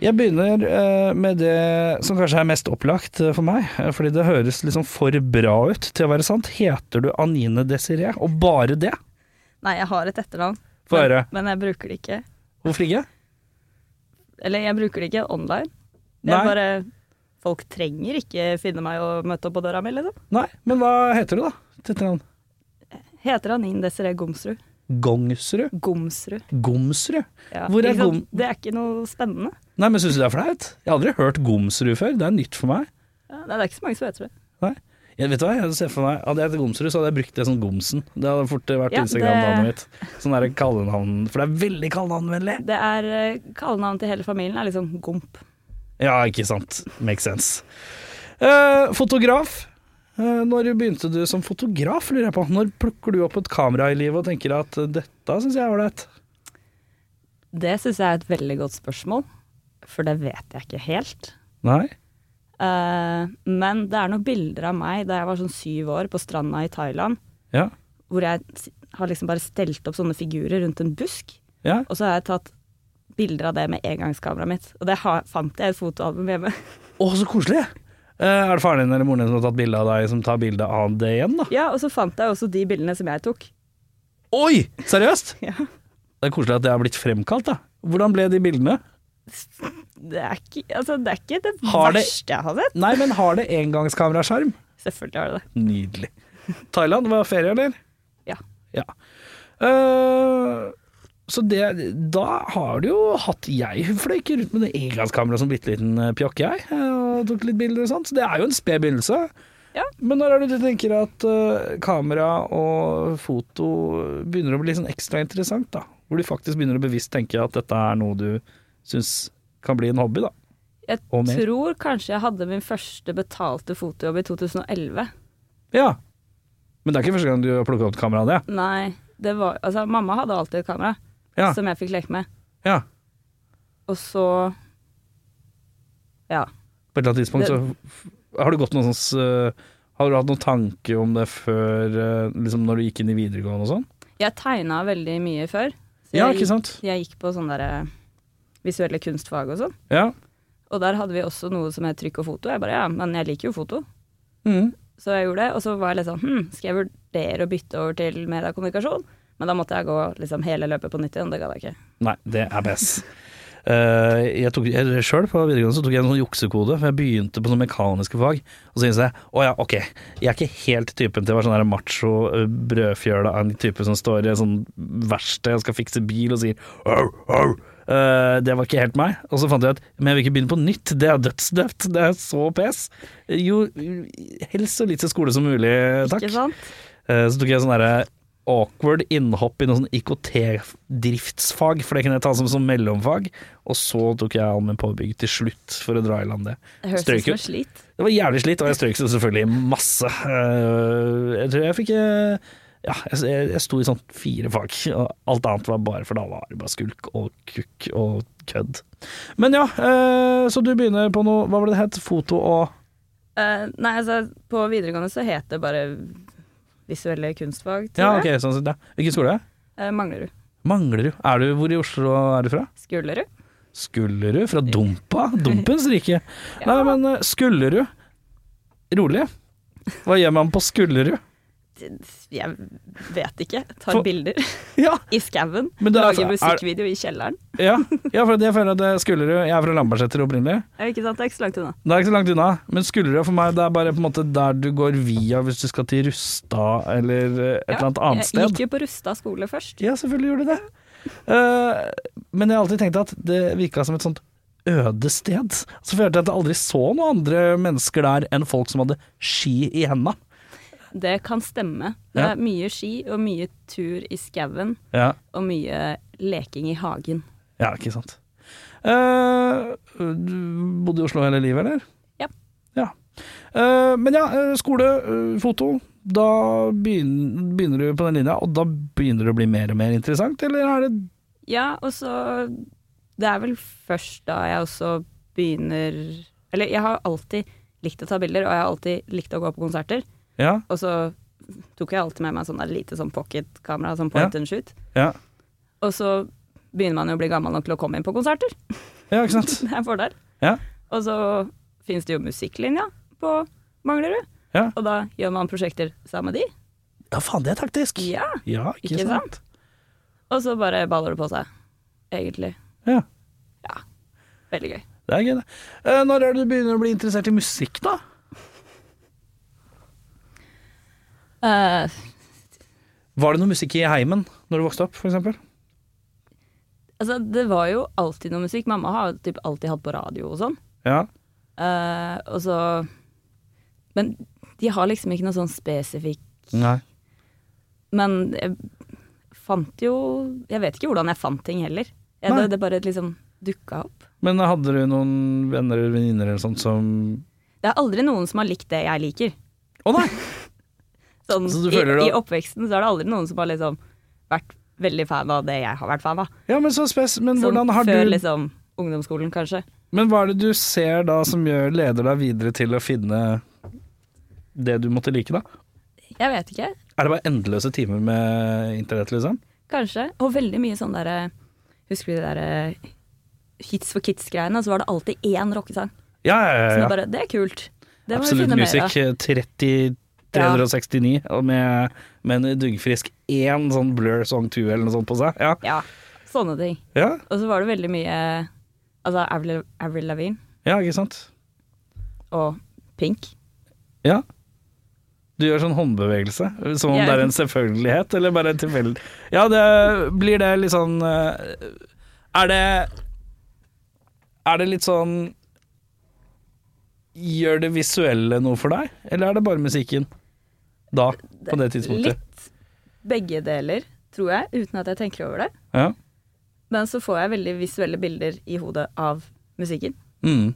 Jeg begynner eh, med det som kanskje er mest opplagt eh, for meg, eh, fordi det høres liksom for bra ut til å være sant. Heter du Anine Desiree, og bare det? Nei, jeg har et etternavn, Få høre. men jeg bruker det ikke. Hvorfor ikke? Eller jeg bruker det ikke online. Det Nei. er bare Folk trenger ikke finne meg og møte opp på døra mi, liksom. Nei, men hva heter du, da? Til etternavn? Heter Anin Desiree Gomsrud. Gongsrud? Gomsrud. Gomsrud? Ja. Hvor er Ikke sant? Gom- Det er ikke noe spennende. Nei, men syns du det er flaut? Jeg har aldri hørt Gomsrud før. Det er nytt for meg. Ja, det er ikke så mange som heter det. Nei. Jeg vet du hva, jeg ser for meg Hadde jeg hett Gomsrud, så hadde jeg brukt det som Gomsen. Det hadde fort vært Ja, Instagram-navnet mitt. Sånn er det kallenavn For det er veldig kallenavnvennlig. Det er eh, Kallenavnet til hele familien er liksom Gomp. Ja, ikke sant. Makes sense. Eh, fotograf. Eh, når begynte du som fotograf, lurer jeg på? Når plukker du opp et kamera i livet og tenker at eh, dette syns jeg er ålreit? Det syns jeg er et veldig godt spørsmål, for det vet jeg ikke helt. Nei? Eh, men det er noen bilder av meg da jeg var sånn syv år på stranda i Thailand, Ja? hvor jeg s- har liksom bare stelt opp sånne figurer rundt en busk. Ja? Og så har jeg tatt bilder av det med engangskameraet mitt. Og det har, fant jeg i et fotoalbum hjemme. Å, så koselig! Eh, er det faren din eller moren din som har tatt bilde av deg, som tar bilde av det igjen, da? Ja, og så fant jeg også de bildene som jeg tok. Oi! Seriøst? Ja. Det er koselig at det er blitt fremkalt, da. Hvordan ble de bildene? Det er ikke, altså, det, er ikke det Har det- verste jeg har sett. Nei, men har det engangskameraskjerm? Selvfølgelig har det det. Nydelig. Thailand var ferie, eller? Ja. Ja. Eh, så det Da har du jo hatt Jeg fløy ikke rundt med det engangskammeret som bitte liten eh, pjokk, jeg, eh, og tok litt bilder og sånt. Så det er jo en sped begynnelse. Ja. Men når er det du tenker at eh, kamera og foto begynner å bli sånn ekstra interessant, da? Hvor du faktisk begynner å bevisst tenke at dette er noe du syns kan bli en hobby, da? Jeg Og mer. tror kanskje jeg hadde min første betalte fotojobb i 2011. Ja. Men det er ikke første gang du har plukket opp et kamera, det? Nei, det var Altså, mamma hadde alltid et kamera Ja. som jeg fikk leke med. ja. Og så Ja. På et eller annet tidspunkt så Har du gått noen sånn s- Har du hatt noen tanke om det før eh, Liksom når du gikk inn i videregående og sånn? Jeg tegna veldig mye før. Så Ja, jeg ikke gikk- sant? Jeg gikk på sånne derre visuelle kunstfag og sånn. Ja. Og der hadde vi også noe som het trykk og foto. Jeg bare ja, men jeg liker jo foto. Mm. Så jeg gjorde det. Og så var jeg litt sånn hm, skal jeg vurdere å bytte over til mediekommunikasjon? Men da måtte jeg gå liksom hele løpet på nytt igjen, det gadd jeg ikke. Nei, det er best. Eh, jeg tok jeg- Selv på videregående så tok jeg en sånn juksekode, for jeg begynte på sånne mekaniske fag. Og så innså jeg å ja, ok, jeg er ikke helt typen til å være sånn der macho eh, brødfjøla av en type som står i et sånn verksted og skal fikse bil og sier au, au. Eh, det var ikke helt meg. Og så fant jeg ut men jeg vil ikke begynne på nytt, det er dødsdøvt, det er så pes. Jo, helst så lite skole som mulig, takk. Ikke sant? Eh, Så tok jeg sånn derre awkward innhopp i noe sånn IKT-driftsfag, for det kunne jeg ta som, som mellomfag. Og så tok jeg allmenn påbygg til slutt, for å dra i land det. Det høres Strøk ut som ut. et slit. Det var jævlig slitt, og jeg strøk så selvfølgelig masse. Eh, Jeg tror jeg fikk eh, ja, jeg, jeg, jeg sto i sånn fire fag, og alt annet var bare for da var det bare skulk og kukk og kødd. Men ja, eh, så du begynner på noe, hva var det det het, foto og Eh, nei, altså, på videregående så het det bare visuelle kunstfag, Ja, tror jeg. ok, sånn sett, ja. Hvilken skole? Eh, Manglerud. Manglerud. Er du, hvor i Oslo er du fra? Skullerud. Skullerud fra Dumpa? Dumpens rike. Nei, men eh, Skullerud Rolig. Hva gjør man på Skullerud? Jeg vet ikke. Tar For- bilder Ja, i skauen. Men det er- altså, Lager er- musikkvideo i kjelleren. ja, ja, for jeg føler at eh, Skullerud Jeg er fra Lambertseter opprinnelig. Ja, Ikke sant, det er ikke så langt unna. Det er ikke så langt unna, men Skullerud for meg det er bare på en måte der du går via hvis du skal til Rustad eller eh, et eller annet annet Jeg sted. gikk jo på Rusta skole først. Ja, selvfølgelig gjorde du det. Eh, men jeg har alltid tenkt at det virka som et sånt øde sted. Så følte jeg at jeg aldri så noen andre mennesker der enn folk som hadde ski i henda. Det kan stemme. Det Ja. er mye ski og mye tur i skauen Ja. og mye leking i hagen. Ja, ikke sant. Eh, du bodde i Oslo hele livet, eller? Ja. Ja. Eh, men ja, eh, skole, eh, foto, da begynner, begynner du på den linja, og da begynner det å bli mer og mer interessant, eller er det Ja, og så Det er vel først da jeg også begynner Eller jeg har alltid likt å ta bilder, og jeg har alltid likt å gå på konserter. Ja, Og så tok jeg alltid med meg sånn der lite sånn pocketkamera, sånn point and shoot. ja, Og så begynner man jo å bli gammel nok til å komme inn på konserter. ja ikke sant? Det er en fordel. Ja. Og så finnes det jo musikklinja på Manglerud, Ja, og da gjør man prosjekter sammen med de. ja faen, det er taktisk! Ja. Ja, ikke, Ikke sant? Og så bare baller det på seg, egentlig. Ja, Veldig gøy. det er gøy, det. Eh, Når er det du begynner å bli interessert i musikk, da? Eh, Var det noe musikk i heimen når du vokste opp, for eksempel? altså, det var jo alltid noe musikk. Mamma har jo typ alltid hatt på radio og sånn. Ja. Eh, og så Men de har liksom ikke noe sånn spesifikk Nei. Men jeg fant jo Jeg vet ikke hvordan jeg fant ting heller. Jeg, Nei. det, det bare liksom dukka opp. Men hadde du noen venner eller venninner eller sånt som Det er aldri noen som har likt det jeg liker. Å nei! Sånn, Så du i, føler I at- oppveksten så er det aldri noen som har liksom vært veldig fan av det jeg har vært fan av. Ja, men så spes... Men Sånn hvordan har før du liksom ungdomsskolen, kanskje. Men hva er det du ser da som gjør, leder deg videre til å finne det du måtte like, da? Jeg vet ikke. Er det bare endeløse timer med internett, liksom? Kanskje. Og veldig mye sånn derre Husker du de derre Hits for kids-greiene? Så var det alltid én rockesang. Ja, ja, Så ja. det ja. bare Det er kult. Det må vi Absolutt finne mer Music av. 30 369 og med, med en duggfrisk én sånn Blur Song 2 eller noe sånt på seg. Ja. Ja. Sånne ting. ja, Og så var det veldig mye Altså Avril, Avril Lavigne ja ikke sant? og Pink. Ja. Du gjør sånn håndbevegelse, som om Jeg- det er en selvfølgelighet, eller bare en tilfeldig Ja, det blir det litt sånn eh, Er det Er det litt sånn Gjør det visuelle noe for deg, eller er det bare musikken? Da, på det tidspunktet. Litt begge deler, tror jeg, uten at jeg tenker over det. Ja. Men så får jeg veldig visuelle bilder i hodet av musikken. Mm.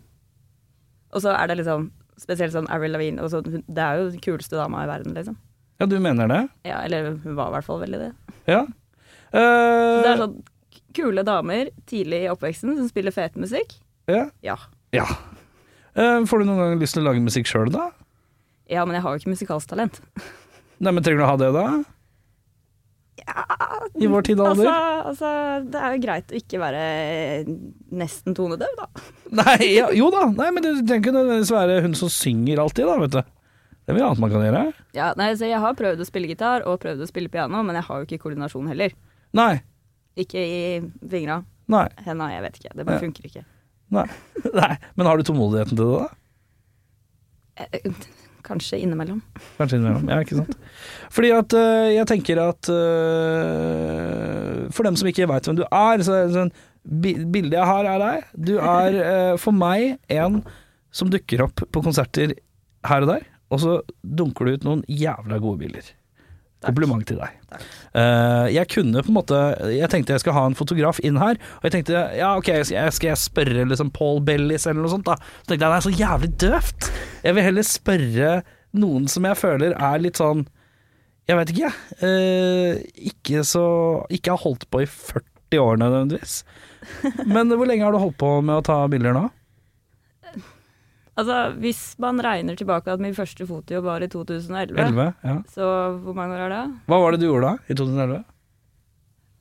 Og så er det liksom spesielt sånn Avril Lavigne. Og så, hun- det er jo den kuleste dama i verden, liksom. ja, du mener det? Ja, eller hun var i hvert fall veldig det. Ja. Så Eh, det er sånn kule damer tidlig i oppveksten som spiller fet musikk. ja. Ja. ja. Eh, får du noen gang lyst til å lage musikk sjøl, da? ja, men jeg har jo ikke musikalsk talent. Nei, men Trenger du å ha det, da? I vår tid og alder? Altså, altså, det er jo greit å ikke være nesten tonedøv, da. Nei, ja, jo da, Nei, men du trenger ikke nødvendigvis være hun som synger alltid, da, vet du. Det er mye annet man kan gjøre. Ja, nei, så jeg har prøvd å spille gitar og prøvd å spille piano, men jeg har jo ikke koordinasjon heller. Nei, Ikke i fingra, nei, henda, jeg vet ikke. Det bare Ja. funker ikke. nei. nei. Men har du tålmodigheten til det, da? Eh, Kanskje innimellom. Kanskje innimellom. Ja, ikke sant. Fordi at øh, jeg tenker at øh, For dem som ikke veit hvem du er, så er det sånn bi- Bildet jeg har, er deg. Du er øh, for meg en som dukker opp på konserter her og der, og så dunker du ut noen jævla gode bilder. Kompliment til deg. Takk. Eh, jeg kunne på en måte Jeg tenkte jeg skal ha en fotograf inn her, og jeg tenkte ja, ok, skal jeg, skal jeg spørre liksom Paul Bellis eller noe sånt, da? Så tenkte jeg det er så jævlig døvt. Jeg vil heller spørre noen som jeg føler er litt sånn Jeg veit ikke, jeg. Eh, ikke så Ikke har holdt på i 40 år nødvendigvis. Men hvor lenge har du holdt på med å ta bilder nå? Altså, hvis man regner tilbake at min første fotojobb var i 2011, 11? Ja. så hvor mange år er det? Hva var det du gjorde da, i 2011?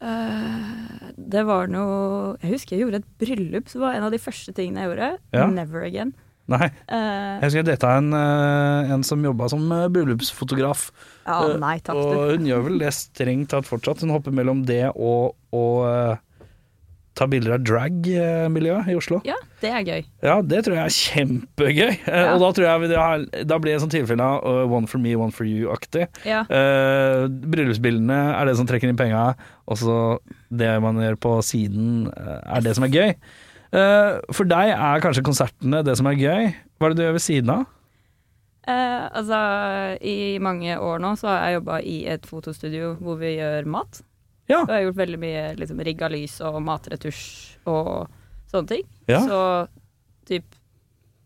Eh, Det var noe Jeg husker jeg gjorde et bryllup, som var en av de første tingene jeg gjorde. Ja. Never again. Nei, Eh, jeg husker jeg data en, eh, en som jobba som eh, bryllupsfotograf. ja, Eh, ah, nei takk, du. Og hun gjør vel det strengt tatt fortsatt. Hun hopper mellom det og, og eh, ta bilder av drag-miljøet i Oslo. Ja, det er gøy. Ja, det tror jeg er kjempegøy. Eh, Ja. Og da tror jeg vi- det har- da blir det et sånt tilfelle av eh, one for me, one for you-aktig. Ja. Eh, bryllupsbildene er det som trekker inn penga, og så det man gjør på siden eh, er det som er gøy. Eh, for deg er kanskje konsertene det som er gøy. Hva er det du gjør ved siden av? Eh, altså, i mange år nå så har jeg jobba i et fotostudio hvor vi gjør mat. Ja. Og jeg har gjort veldig mye liksom, rigga lys og matretusj og sånne ting. Ja. Så typ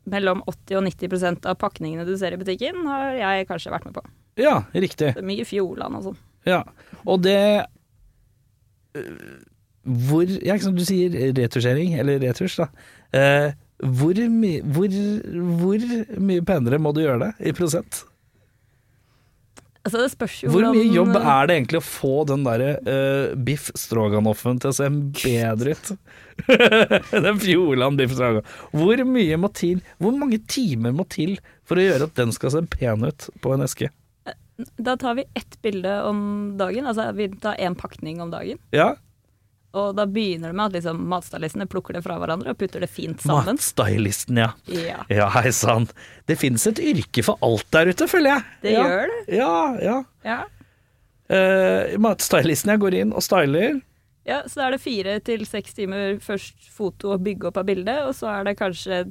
mellom 80 og 90 av pakningene du ser i butikken, har jeg kanskje vært med på. Ja, riktig. Det er mye Fjordland og sånn. Ja. Og det øh, Hvor ja, ikke sant, Du sier retusjering, eller retusj, da. Eh, hvor, my, hvor, hvor mye penere må du gjøre det i prosent? Altså, det spørs jo øh, Hvor mye hvordan- jobb er det egentlig å få den derre eh, biff stroganoffen til å se bedre ut? den Fjordland biff stroganoff. Hvor mye må til, hvor mange timer må til for å gjøre at den skal se pen ut på en eske? Da tar vi ett bilde om dagen. Altså vi tar én pakning om dagen. Ja, Og da begynner det med at liksom, matstylistene plukker det fra hverandre og putter det fint sammen. matstylisten, ja. Ja, Ja, hei sann. Det fins et yrke for alt der ute, føler jeg. Det ja. gjør det. Ja, ja. Ja. Eh, matstylisten jeg går inn og styler. ja, Så er det fire til seks timer først foto og bygge opp av bildet, og så er det kanskje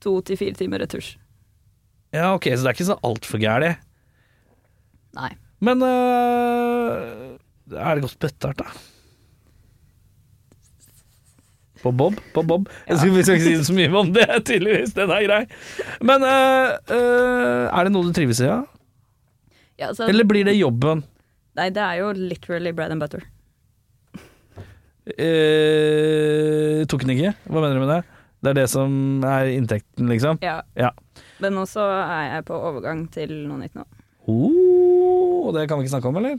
to til fire timer retusj. Ja, ok, så det er ikke så altfor gæli. Nei. Men eh, er det godt betalt, da? På Bob? På Bob? Jeg skal, vi skal ikke si så mye om det, tydeligvis. Den er grei. Men eh, eh, er det noe du trives i, ja? Ja, så, Eller blir det jobben? nei, det er jo literally bread and butter. Eh, tok den ikke? Hva mener du med det? Det er det som er inntekten, liksom? Ja. Ja. Men nå så er jeg på overgang til noe nytt nå. Oh, og det kan vi ikke snakke om, eller?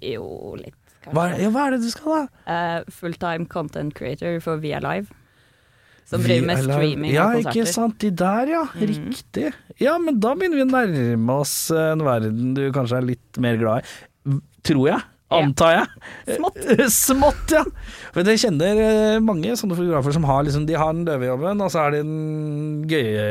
Jo, litt, kanskje. Hva er, ja, hva er det du skal, da? Eh, Fulltime content creator for Via Live. Som Vi driver med er live. streaming ja, av Ja, ikke konserter. Mm. sant. De der, ja. Riktig. Ja, men da begynner vi å nærme oss eh, en verden du kanskje er litt mer glad i. Tror jeg. Antar jeg. Smått. Smått, ja. For jeg kjenner eh, mange sånne fotografer som har liksom, de har den døve jobben, og så er det den gøye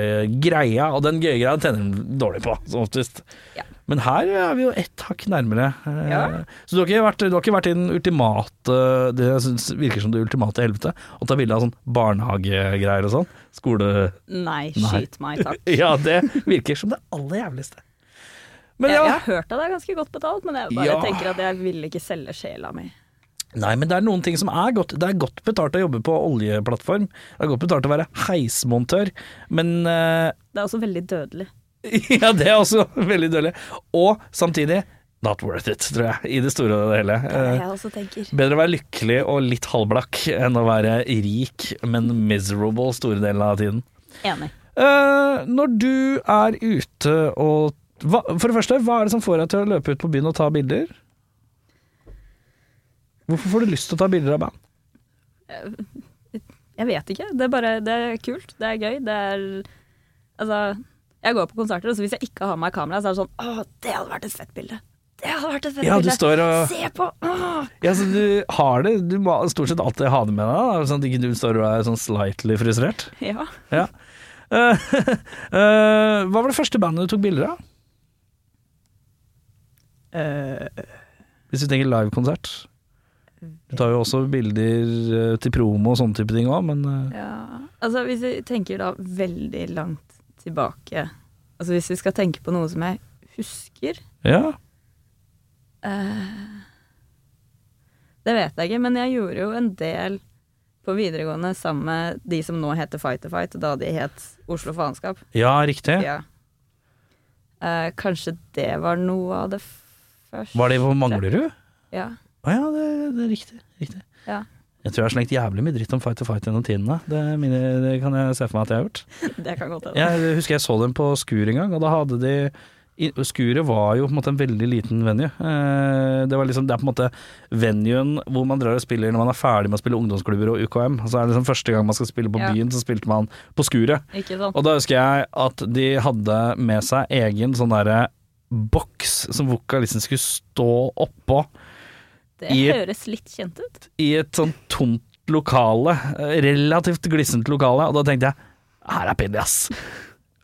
greia, og den gøye greia tjener de dårlig på, som oftest. Ja. Men her er vi jo ett hakk nærmere. Eh, Ja. Så du har ikke vært, du har ikke vært i den ultimate eh, Det jeg synes virker som det ultimate helvete, å ta bilde av sånn barnehagegreier og sånn. Skole... Nei, Nei. skyt meg, takk. Ja, det virker som det aller jævligste. Men Jeg, ja, jeg har hørt at det er ganske godt betalt, men jeg bare Ja. tenker at jeg vil ikke selge sjela mi. Nei, men det er noen ting som er godt. Det er godt betalt å jobbe på oljeplattform. Det er godt betalt å være heismontør. Men eh, Det er også veldig dødelig. ja, det er også veldig dårlig. Og samtidig not worth it, tror jeg, i det store og det hele. Det er det Eh, jeg også tenker. bedre å være lykkelig og litt halvblakk enn å være rik, men miserable store delen av tiden. Enig. Eh, når du er ute og hva, For det første, hva er det som får deg til å løpe ut på byen og ta bilder? Hvorfor får du lyst til å ta bilder av band? Eh, Jeg vet ikke. Det er bare Det er kult. Det er gøy. Det er Altså, jeg går på konserter, og så hvis jeg ikke har med meg kamera, så er det sånn Å, det hadde vært et fett bilde. Det hadde vært et fett Ja, du bilde. står og Se på! Åh! Ja, så du har det, du må stort sett alltid ha det med deg, da, sånn at ikke du står og er sånn slightly frustrert. Ja. Ja. Eh, eh, hva var det første bandet du tok bilder av? Hvis du tenker livekonsert. Du tar jo også bilder eh, til promo og sånne type ting òg, men eh, Ja, altså hvis vi tenker da veldig langt tilbake Altså hvis vi skal tenke på noe som jeg husker eh, ja. eh, Det vet jeg ikke, men jeg gjorde jo en del på videregående sammen med de som nå heter Fight to Fight, da de het Oslo Faenskap. Ja, riktig. Ja. Eh, kanskje det var noe av det første Var det på Manglerud? Ja. Å ja, det, det er riktig. riktig. ja. Jeg tror jeg har slengt jævlig mye dritt om Fight to Fight gjennom tidene. Det, er mine, det kan jeg se for meg at jeg har gjort. Det kan godt hende. Jeg husker jeg så dem på Skur en gang, og da hadde de i- Skuret var jo på en måte en veldig liten venue. Eh, Det, var liksom, det er på en måte venuen hvor man drar og spiller når man er ferdig med å spille ungdomsklubber og UKM. Så er det liksom første gang man skal spille på Ja. byen, så spilte man på Skuret. Ikke sant? Og da husker jeg at de hadde med seg egen sånn derre boks som vokalisten skulle stå oppå Det i- høres litt kjent ut. i et sånn tomt lokale, eh, relativt glissent lokale, og da tenkte jeg her er pinlig, ass.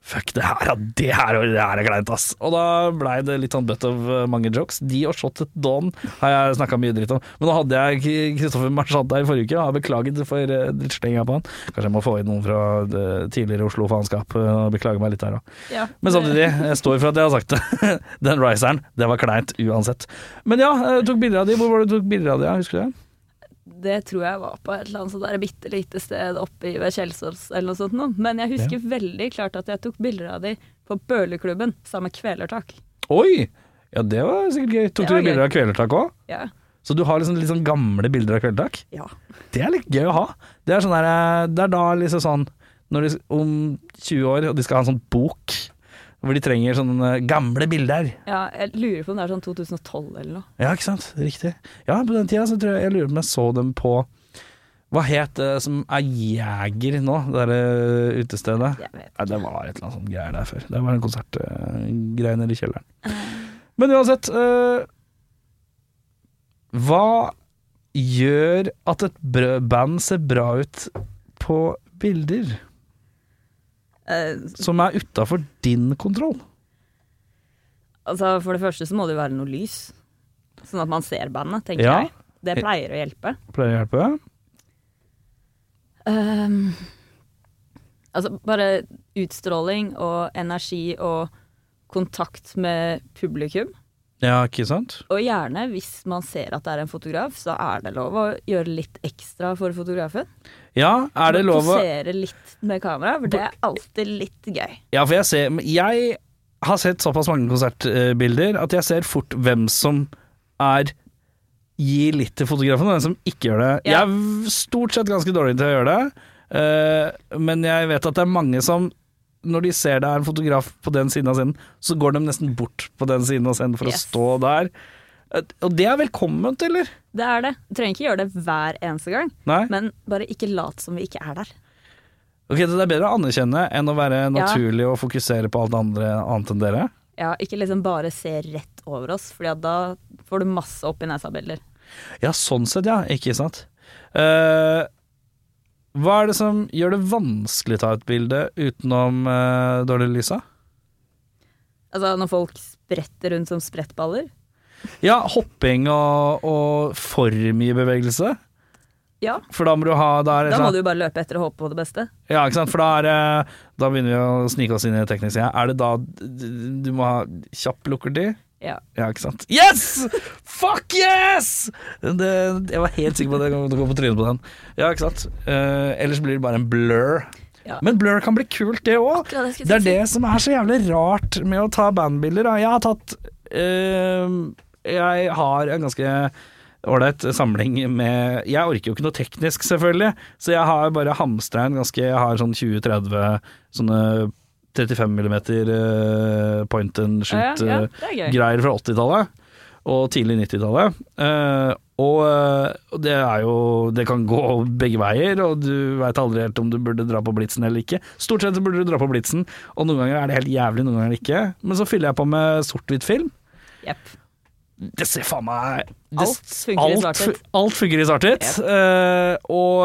Fuck det her, ja, det her, det her er kleint, ass. Og da blei det litt sånn butt of eh, mange jokes. De og Shot at Dawn har jeg snakka mye dritt om. Men nå hadde jeg K- Kristoffer Marchand her i forrige uke, og har beklaget for eh, drittslenga på han. Kanskje jeg må få inn noen fra eh, tidligere Oslo-faenskap eh, og beklage meg litt der òg. Ja. Men samtidig, jeg står for at jeg har sagt det. Den riseren, det var kleint uansett. Men ja, jeg tok bilder av de. Hvor var det du tok bilder av de, ja? husker du det? Det tror jeg var på et eller annet sånt der bitte lite sted oppe i ved Kjelsås eller noe sånt noe. Men jeg husker veldig klart at jeg tok bilder av de på Bøhlerklubben sammen med Kvelertak. Oi! Ja, det var sikkert gøy. Tok Det du var bilder gøy. av Kvelertak òg? Ja. Så du har liksom litt sånn gamle bilder av Kvelertak? Det er litt gøy å ha. Det er, sånn der, eh, det er da liksom sånn når de, Om 20 år, og de skal ha en sånn bok hvor de trenger sånne eh, gamle bilder. ja. Jeg lurer på om det er sånn 2012 eller noe. Ja, ikke sant? Riktig. Ja, på den tida så tror jeg jeg lurer på om jeg så dem på Hva het det som er Jæger nå, det der eh, utestedet? Jeg vet. Nei, det var et eller annet sånt greier der før. Det var en konsertgreie nede i kjelleren. Men uansett eh, Hva gjør at et brø- band ser bra ut på bilder Eh, som er utafor din kontroll? altså, for det første så må det jo være noe lys, sånn at man ser bandet, tenker Ja. jeg. Det pleier å hjelpe. Pleier å hjelpe. Ehm, altså bare utstråling og energi og kontakt med publikum. Ja, ikke sant? Og gjerne, hvis man ser at det er en fotograf, så er det lov å gjøre litt ekstra for fotografen. Ja, er det lov å Posere litt med kamera, for det er alltid litt gøy. Ja, for jeg ser men Jeg har sett såpass mange konsertbilder at jeg ser fort hvem som er Gir litt til fotografen, og hvem som ikke gjør det. Jeg Ja. er v- stort sett ganske dårlig til å gjøre det, eh, men jeg vet at det er mange som når de ser det er en fotograf på den siden av scenen, så går de nesten bort på den siden av scenen for Yes. å stå der. Eh, Og det er velkomment, eller? Det er det. Du trenger ikke gjøre det hver eneste gang, Nei? men bare ikke lat som vi ikke er der. Ok, så Det er bedre å anerkjenne enn å være Ja. naturlig og fokusere på alt andre annet enn dere? Ja, ikke liksom bare se rett over oss, for da får du masse opp i nesa-bilder. Ja, sånn sett, ja. Ikke sant. Eh, hva er det som gjør det vanskelig å ta et bilde utenom eh, dårlig lys? da? Altså når folk spretter rundt som sprettballer. Ja, hopping og, og for mye bevegelse. Ja, For da må du ha da er det Da må sånn- du jo bare løpe etter og håpe på det beste. Ja, ikke sant. For da, er, det- da begynner vi å snike oss inn i det tekniske. Er det da d- du må ha kjapp lukkertid? Ja. Ja, ikke sant. Yes! Fuck yes! Det, jeg var helt sikker på at jeg kom til å gå på trynet på den. Ja, ikke sant. Eh, ellers blir det bare en blur. Ja. Men blur kan bli kult, det òg. Det er det som er så jævlig rart med å ta bandbilder. da. Jeg har tatt øhm, Jeg har en ganske ålreit samling med Jeg orker jo ikke noe teknisk, selvfølgelig, så jeg har bare hamstra en ganske Jeg har sånn 20-30 sånne 35 millimeter øh, point and ja, shoot. ja, øh, det er gøy. greier fra 80-tallet og tidlig 90-tallet. Eh, og, eh, og det er jo Det kan gå begge veier, og du veit aldri helt om du burde dra på blitsen eller ikke. Stort sett så burde du dra på blitsen, og noen ganger er det helt jævlig, noen ganger ikke. Men så fyller jeg på med sort-hvitt film. Jepp. Det ser faen meg det, Alt funker i alt svart-hvitt. fu- Alt funker i svart-hvitt. Eh, og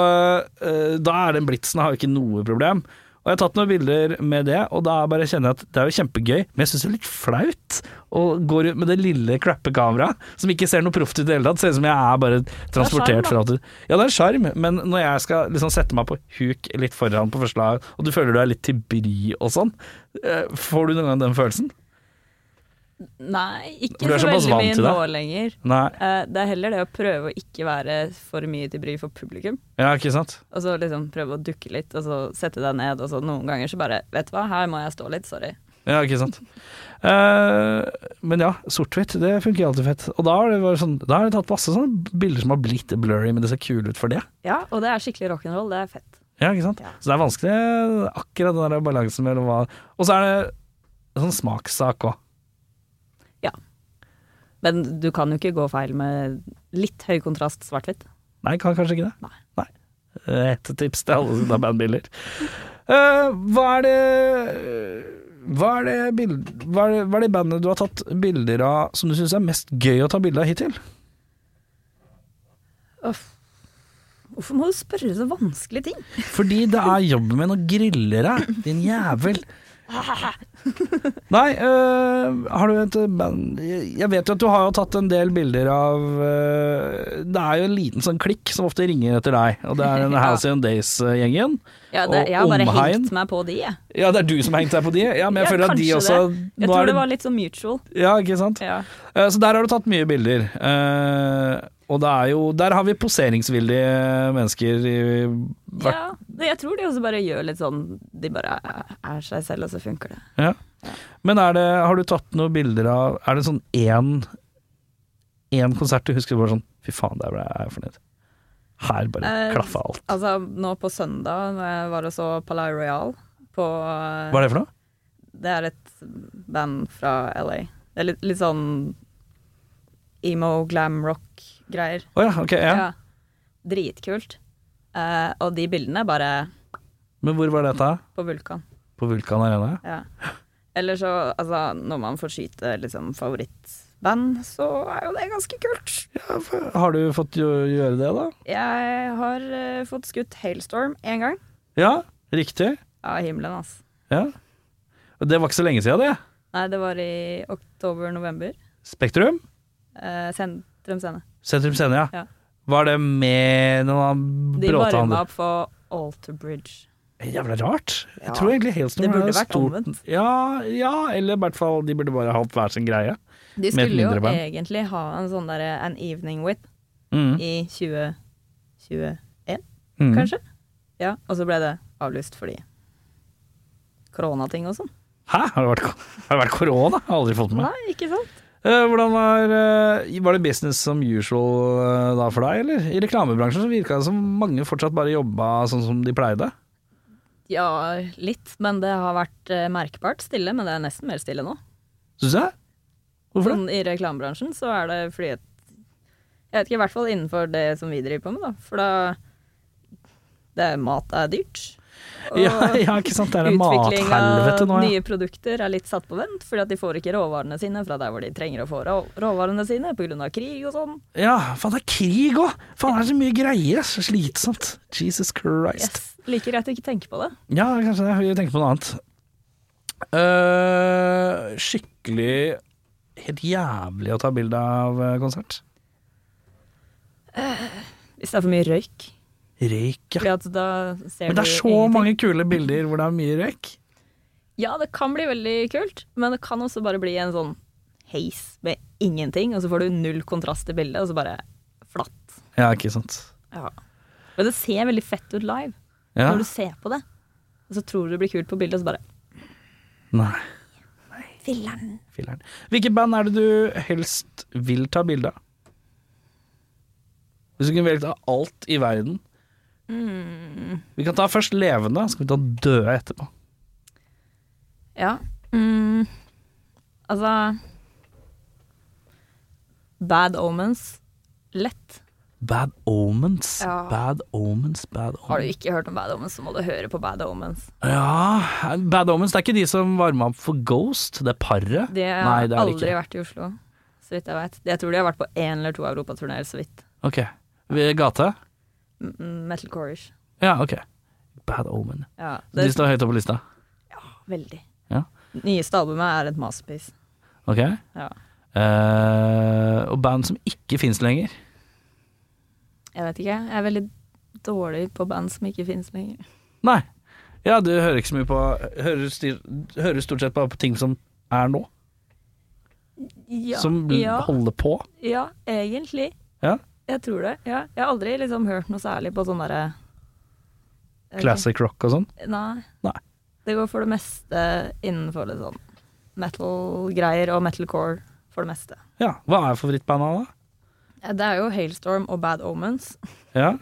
eh, da er den blitsen har jo ikke noe problem. Og jeg har tatt noen bilder med det, og da bare kjenner jeg at det er jo kjempegøy, men jeg syns det er litt flaut å gå rundt med det lille klappe kameraet som ikke ser noe proft ut i det hele tatt. Ser ut som jeg er bare da. transportert fra til Ja, det er en sjarm, men når jeg skal liksom sette meg på huk litt foran på første lag, og du føler du er litt til bry og sånn, eh, får du noen gang den følelsen? Nei, ikke For du er så såpass veldig vant mye til det. nå lenger. Nei. Eh, Det er heller det å prøve å ikke være for mye til bry for publikum. Ja, ikke sant? Og så liksom prøve å dukke litt, og så sette deg ned, og så noen ganger så bare Vet du hva, her må jeg stå litt, sorry. Ja, ikke sant. Eh, men ja, sort-hvitt, det funker alltid fett. Og da har det, vært sånn, da har det tatt masse sånne bilder som har blitt blurry, men det ser kule ut for det. Ja, og det er skikkelig rock'n'roll, det er fett. Ja, ikke sant? Ja. Så det er vanskelig, akkurat den der balansen mellom hva Og så er det en sånn smakssak òg. Men du kan jo ikke gå feil med litt høy kontrast svart-hvitt. Nei, kan kanskje ikke det. Nei. Eh, Et tips til alle som tar bandbilder. Eh, hva er det hva er, det bild, hva, er det, hva er det bandet du har tatt bilder av som du syns er mest gøy å ta bilde av hittil? Uff. Hvorfor må du spørre så vanskelige ting? Fordi det er jobben min å grille deg, din jævel. Nei, øh, har du et band Jeg vet jo at du har jo tatt en del bilder av øh, Det er jo en liten sånn klikk som ofte ringer etter deg, og det er den Ja. House in Days-gjengen. Ja, det, Og jeg har bare omhegn. hengt meg på de, jeg. Ja, det er du som har hengt deg på de? Ja, men jeg Ja, føler at de kanskje også Jeg nå tror er det det, var litt sånn mutual. Ja, ikke sant? Ja. Eh, Så der har du tatt mye bilder. Eh, og det er jo Der har vi poseringsvillige mennesker i hvert Ja, det- jeg tror de også bare gjør litt sånn De bare er seg selv, og så funker det. Ja. Men er det, har du tatt noen bilder av Er det sånn én Én konsert du husker bare sånn Fy faen, der ble jeg fornøyd. Her bare Eh, klaffa alt. Altså, nå på søndag når jeg var og så Palais Royal på eh, Hva er det for noe? Det er et band fra LA. Det er litt, litt sånn emo, glam rock-greier. Å ja, ok. Ja. Ja. Dritkult. Eh, og de bildene er bare Men hvor var dette? på vulkan. På Vulkan Arena? Ja. Eller så, altså, når man får skyte liksom, favorittband, så er jo det ganske kult. Ja, for- Har du fått gjø- gjøre det, da? Jeg har eh, fått skutt Hailstorm én gang. Ja, riktig. Av himmelen, altså. Ja. Og Det var ikke så lenge siden, det. Nei, det var i oktober-november. Spektrum? Eh, sentrum Scene. Sentrum Scene, ja. Ja. Var det med noen De varma bråtehandel? opp for Alter Bridge. Jævla rart. Jeg Ja. tror egentlig Hailstorm Det burde er vært stort- omvendt. Ja, ja, eller i hvert fall de burde bare hatt hver sin greie. De Med et skulle jo mindre band. egentlig ha en sånn derre An Evening With Mm. i 2021, Mm. kanskje? Ja, og så ble det avlyst fordi koronating og sånn. Hæ? Har det vært, har det vært korona? Jeg har aldri fått med meg. Nei, ikke sant? Eh, hvordan var, eh, var det business som usual eh, da for deg, eller? I reklamebransjen så virka det som mange fortsatt bare jobba sånn som de pleide. Ja, litt, men det har vært eh, merkbart stille, men det er nesten mer stille nå. Syns jeg. Hvorfor det? Sånn, I reklamebransjen så er det fordi at Jeg vet ikke, i hvert fall innenfor det som vi driver på med, da. For da det, er- Mat er dyrt. og- Ja, ja, ikke sant. Det er et Utvikling av mathelvete nå, ja. nye produkter er litt satt på vent, fordi at de får ikke råvarene sine fra der hvor de trenger å få rå- råvarene sine pga. krig og sånn. Ja, faen det er krig òg! Faen det er så mye greier, ass. Slitsomt. Jesus Christ. Yes. Like greit å ikke tenke på det. Ja, kanskje det. Vi tenker på noe annet. Eh, skikkelig helt jævlig å ta bilde av eh, konsert. Hvis det er for mye røyk. Røyk, ja. Fordi at da ser Men det du er så ingenting. mange kule bilder hvor det er mye røyk. Ja, det kan bli veldig kult, men det kan også bare bli en sånn heis med ingenting, og så får du null kontrast i bildet, og så bare flatt. Ja, ikke sant. Ja. Men det ser veldig fett ut live, Ja. når du ser på det. Og så tror du det blir kult på bildet, og så bare Nei. Filler'n. Hvilket band er det du helst vil ta bilde av? Hvis du kunne velge av alt i verden. Vi kan ta først levende, så kan vi ta døde etterpå. Ja. Mm. Altså Bad Omens. Lett. Bad omens, Ja. bad omens, bad Har du omens. ikke hørt om Bad Omens, så må du høre på Bad Omens. Ja, bad omens, det er ikke de som varma opp for Ghost, det paret. De har Nei, det er det aldri ikke. vært i Oslo, så vidt jeg vet. Jeg tror de har vært på én eller to europaturneer, så vidt. Ok, ved gate? M- m- Metal Corish. Ja, ok. Bad omen. Ja, De det står høyt oppe på lista. veldig. Ja. Nyeste albumet er et masterpiece. Ok. Ja. Eh, og band som ikke fins lenger. Jeg vet ikke, jeg er veldig dårlig på band som ikke finnes lenger. Nei. Ja, du hører ikke så mye på Hører, styr, hører stort sett på, på ting som er nå. Ja, som l- ja, holder på. ja egentlig. Ja. Jeg tror det. Ja. Jeg har aldri liksom hørt noe særlig på sånn derre Ok. Classic rock og sånn. Nei. Nei. Det går for det meste innenfor det sånn metal-greier og metalcore for det meste. Ja. Hva er favorittbandet, Eh, Det er jo Hailstorm og Bad Omens. da? Ja.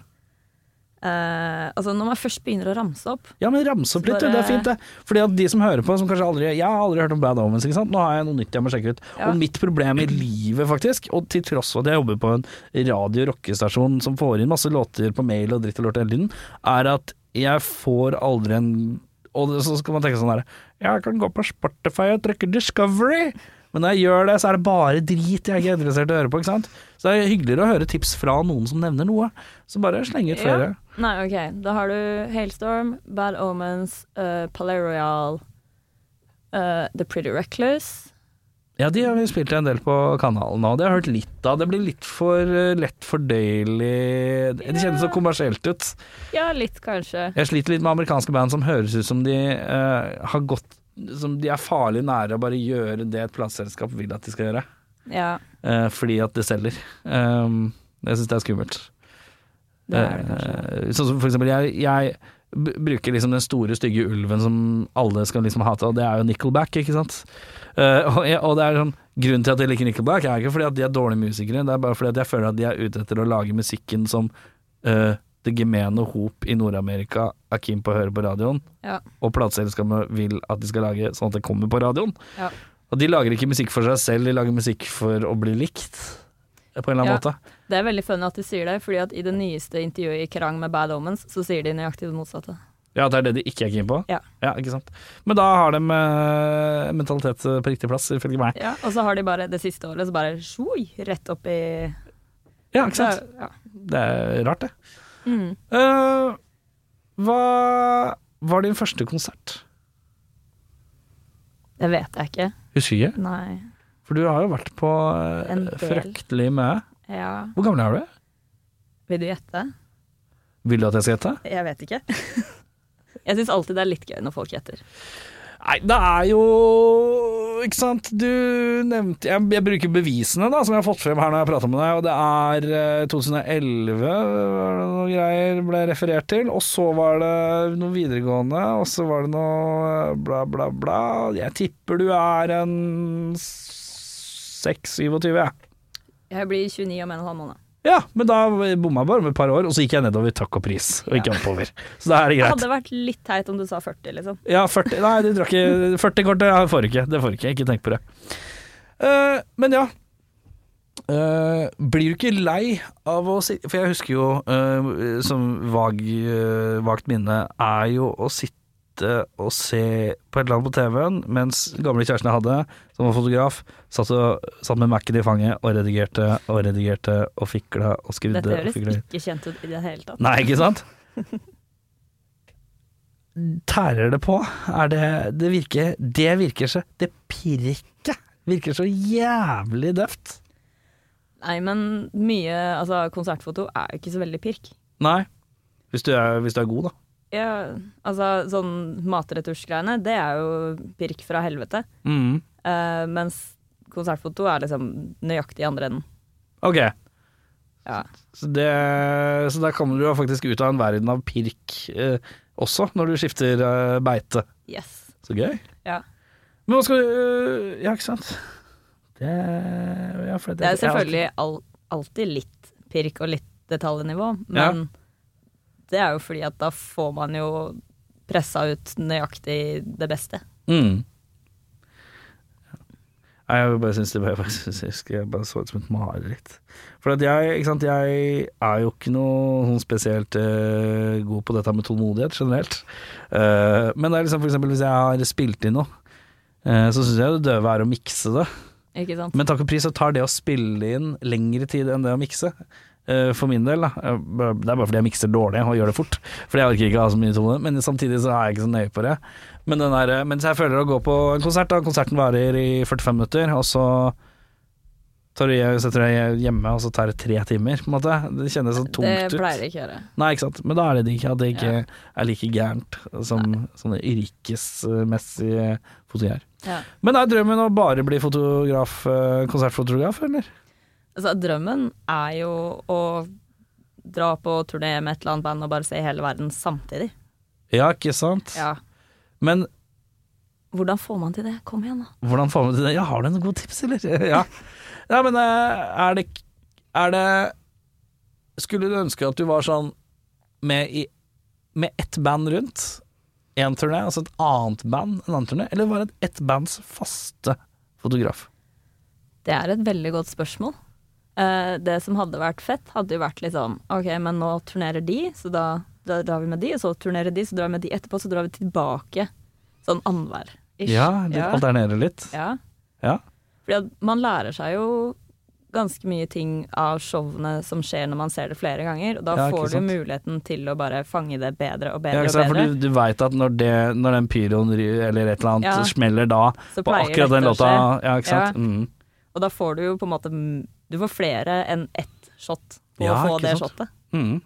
Eh, altså Når man først begynner å ramse opp ja, men ramse opp Så litt, du. Det bare- er fint, det. Fordi at de som hører på, som kanskje aldri Jeg har aldri hørt om Bad Omens, ikke sant. Nå har jeg noe nytt jeg må sjekke ut. Ja. Og mitt problem i livet, faktisk, og til tross for at jeg jobber på en radio- og rockestasjon som får inn masse låter på mail og dritt og lort hele tiden, er at jeg får aldri en Og så skal man tenke sånn herre Jeg kan gå på Spotify og trykke Discovery. Men når jeg gjør det, så er det bare drit jeg er ikke interessert i å høre på. ikke sant? Så det er hyggeligere å høre tips fra noen som nevner noe. Så bare sleng ut flere. Ja. Nei, ok. Da har du Hailstorm, Bad Omens, uh, Palais Royal, eh, The Pretty Reckless. Ja, de har vi spilt en del på kanalen nå. Det har jeg hørt litt av. Det blir litt for eh, lett fordøyelig Det kjennes så kommersielt ut. Ja, litt kanskje. Jeg sliter litt med amerikanske band som høres ut som de eh, har gått Som de er farlig nære å bare gjøre det et plateselskap vil at de skal gjøre. Ja, eh, fordi at det selger. Um, jeg syns det er skummelt. det er det kanskje. Eh, sånn som for eksempel jeg, jeg b- bruker liksom den store, stygge ulven som alle skal liksom hate, og det er jo Nickelback, ikke sant. Eh, og, jeg, og det er sånn, grunnen til at jeg liker Nickelback, er ikke fordi at de er dårlige musikere, det er bare fordi at jeg føler at de er ute etter å lage musikken som eh, det gemene hop i Nord-Amerika er keen på å høre på radioen, Ja. og plateselskapene vil at de skal lage sånn at det kommer på radioen. Ja. Og de lager ikke musikk for seg selv, de lager musikk for å bli likt, eh, på en eller annen Ja. måte. Det er veldig funny at de sier det, fordi at i det nyeste intervjuet i Krang med Bad Omens, så sier de nøyaktig det motsatte. Ja, det er det de ikke er keen på? Ja. ikke sant? Men da har de eh, mentalitet eh, på riktig plass, ifølge meg. Ja, og så har de bare det siste året, så bare sjoi, rett opp i Ja, ikke sant? Ja. Det er rart, det. Mm. Eh, hva var din første konsert? Det vet jeg ikke. Husker ikke. Nei. For du har jo vært på eh, En del. fryktelig mye. Ja. Hvor gammel er du? Vil du gjette? Vil du at jeg skal gjette? Jeg vet ikke. Jeg syns alltid det er litt gøy når folk gjetter. Nei, det er jo Ikke sant. Du nevnte Jeg, jeg bruker bevisene da, som jeg har fått frem her når jeg prater med deg, og det er eh, 2011 var det noe greier ble referert til. Og så var det noe videregående, og så var det noe eh, bla, bla, bla. Jeg tipper du er en 6-27, jeg. Jeg blir 29 om en og en halv måned. Ja, men da bomma jeg bare med et par år, og så gikk jeg nedover i takk og pris, og ikke oppover. Så da er det Det greit. hadde vært litt teit om du sa 40, liksom. Ja, 40 Nei, du drakk ikke 40 kortet ja, får du ikke. Det får du ikke. Ikke tenk på det. Eh, men ja. Eh, blir du ikke lei av å sitte For jeg husker jo, eh, som vag, eh, vagt minne, er jo å sitte og se på et eller annet på TV-en mens gamle kjæresten jeg hadde, som var fotograf, satt, og, satt med Mac-en i fanget og redigerte og redigerte og fikla og skrudde. Dette og høres fikla. ikke kjent ut i det hele tatt. Nei, ikke sant? Tærer det på? Er det, det, virker, det virker så Det pirket virker så jævlig døvt. Nei, men mye Altså, konsertfoto er jo ikke så veldig pirk. Nei. Hvis du, er, hvis du er god, da. Ja, altså, sånn matretusjgreiene, det er jo pirk fra helvete. Mm. Eh, mens konsertfoto er liksom nøyaktig i andre enden. Ok, Ja. så, det, så der kommer du jo faktisk ut av en verden av pirk eh, også, når du skifter eh, beite. Yes. Så gøy. Ja. Men hva skal du øh, Ja, ikke sant. Det, ja, for Det er selvfølgelig al alltid litt pirk og litt detaljnivå, men det er jo fordi at da får man jo pressa ut nøyaktig det beste. Mm. Nei, jeg bare syns det bare, jeg bare, synes, jeg husker jeg bare så ut som et mareritt. For at jeg, ikke sant, jeg er jo ikke noe sånn spesielt eh, god på dette med tålmodighet generelt. Eh, men det er liksom for eksempel hvis jeg har spilt inn noe, eh, så syns jeg det døve er å mikse det. Ikke sant? Men takk og pris så tar det å spille inn lengre tid enn det å mikse. Eh, For min del, da. Eh, bare- Det er bare fordi jeg mikser dårlig og gjør det fort. Fordi jeg orker ikke å ha så mye tone. Men samtidig så er jeg ikke så nøye på det. Men den der, eh, mens jeg føler å gå på en konsert, da. Konserten varer i 45 minutter, og så tar du, setter du deg hjemme, og så tar det tre timer, på en måte. Det kjennes så tungt det ut. pleier det ikke å gjøre. Nei, ikke sant. Men da er det digg at det ikke er like gærent som sånne yrkesmessige fotogjær. Ja. Men er drømmen å bare bli fotograf, eh, konsertfotograf, eller? Altså, drømmen er jo å dra på turné med et eller annet band og bare se hele verden samtidig. Ja, ikke sant? Ja. Men Hvordan får man til det? Kom igjen, da. hvordan får vi til det? Ja, har du noen gode tips, eller? ja. Nei, men eh, er det, er det Skulle du ønske at du var sånn med, i, med ett band rundt? Én turné, og så et annet band en annen turné? Eller var det ett bands faste fotograf? Det er et veldig godt spørsmål. Eh, det som hadde vært fett, hadde jo vært liksom OK, men nå turnerer de, så da, da drar vi med de, og så turnerer de, så drar vi med de etterpå, så drar vi tilbake. Sånn annenhver. ish. Ja, de ja. alternerer litt. ja. Ja. Fordi at man lærer seg jo ganske mye ting av showene som skjer når man ser det flere ganger, og da Ja, ikke får du sant. muligheten til å bare fange det bedre og Ja, bedre ikke sant? og For bedre. du, du veit at når, det, når den pyroen ry- eller et eller annet Ja. smeller da, Så på pleier akkurat den dette å låta skje. Ja, ikke sant? Ja. Mm. Og da får du jo på en måte m- Du får flere enn ett shot på Ja, å få ikke det sant? shotet. Mm.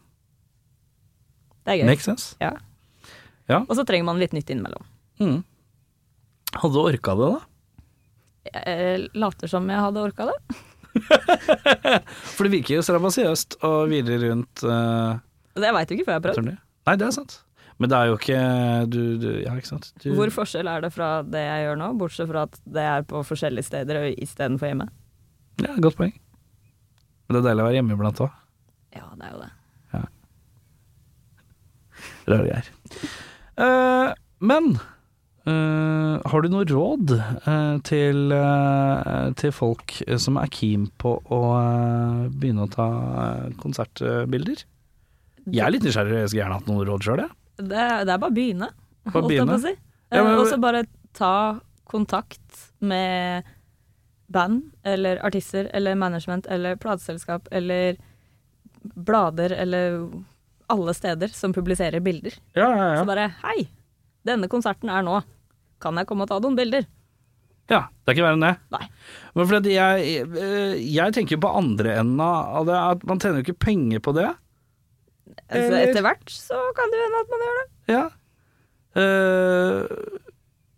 Det er gøy. Makes sense. Ja. Ja. Og så trenger man litt nytt innimellom. Mm. Hadde du orka det, da? Jeg eh, later som jeg hadde orka det. For det virker jo strabasiøst å hvile rundt eh, Og det veit du ikke før jeg har prøvd. turné. Nei, det er sant. Men det er jo ikke du, du Ja, ikke sant? Du, Hvor forskjell er det fra det jeg gjør nå, bortsett fra at det er på forskjellige steder og istedenfor hjemme? Ja, godt poeng. Men det er deilig å være hjemme iblant òg. Ja, det er jo det. Rare greier. Eh, men eh, har du noe råd eh, til, eh, til folk som er keen på å eh, begynne å ta eh, konsertbilder? Jeg er litt nysgjerrig, jeg skulle gjerne hatt noen råd sjøl, jeg. Det, det er bare å begynne, Bare holdt jeg på begynne. å si. Ja, men- Eh, Og så bare ta kontakt med band eller artister eller management eller plateselskap eller blader eller alle steder som publiserer bilder. Ja, ja, Så bare hei, denne konserten er nå. Kan jeg komme og ta noen bilder? Ja, det er ikke verre enn det. Nei. Men fordi jeg, eh, jeg tenker jo på andre enden av det, at man tjener jo ikke penger på det. Altså, Eller- etter hvert så kan det jo hende at man gjør det. Ja. Eh,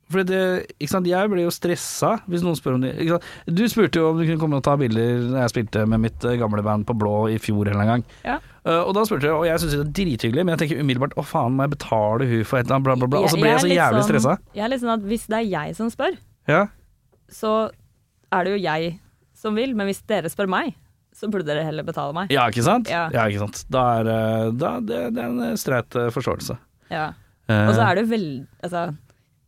fordi det, ikke sant, jeg blir jo stressa hvis noen spør om det. Ikke sant? Du spurte jo om du kunne komme og ta bilder da jeg spilte med mitt eh, gamle band på Blå i fjor eller en gang. Ja. Eh, og da spurte jeg, og jeg syntes det var drithyggelig, men jeg tenker umiddelbart å faen, må jeg betale hun for et eller annet, bla, bla, bla. Og så ble jeg så er litt jævlig sånn- stressa. Jeg er litt sånn at hvis det er jeg som spør, Ja. så er det jo jeg som vil, men hvis dere spør meg, så burde dere heller betale meg. ja, ikke sant? Ja. ikke sant. Da er eh, da, det, det er en eh, streit eh, forståelse. Ja. Eh. Og så er det jo veldig Altså,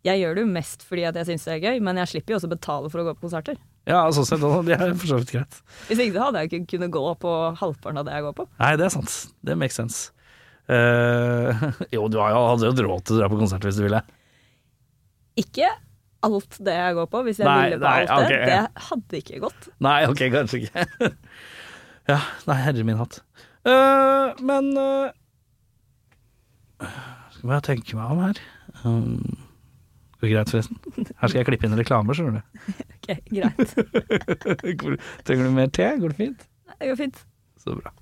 jeg gjør det jo mest fordi at jeg syns det er gøy, men jeg slipper jo også betale for å gå på konserter. Ja, sånn sett, og det er for så vidt greit. Hvis ikke så hadde jeg ikke kunnet gå på halvparten av det jeg går på. Nei, det er sant. Det makes sense. Eh, jo, du har jo, hadde jo råd til å dra på konsert hvis du ville. Ikke alt det jeg går på, hvis jeg Nei, ville på nei, alt det. ok. Det hadde ikke gått. Nei, ok, kanskje ikke. ja, nei, herre min hatt. Eh, men eh, Skal bare tenke meg om her. Um, går det greit, forresten? Her skal jeg klippe inn reklamer, skjønner du. Ok, greit. Hvor- Trenger du mer te? Går det fint? Det går fint. Så bra.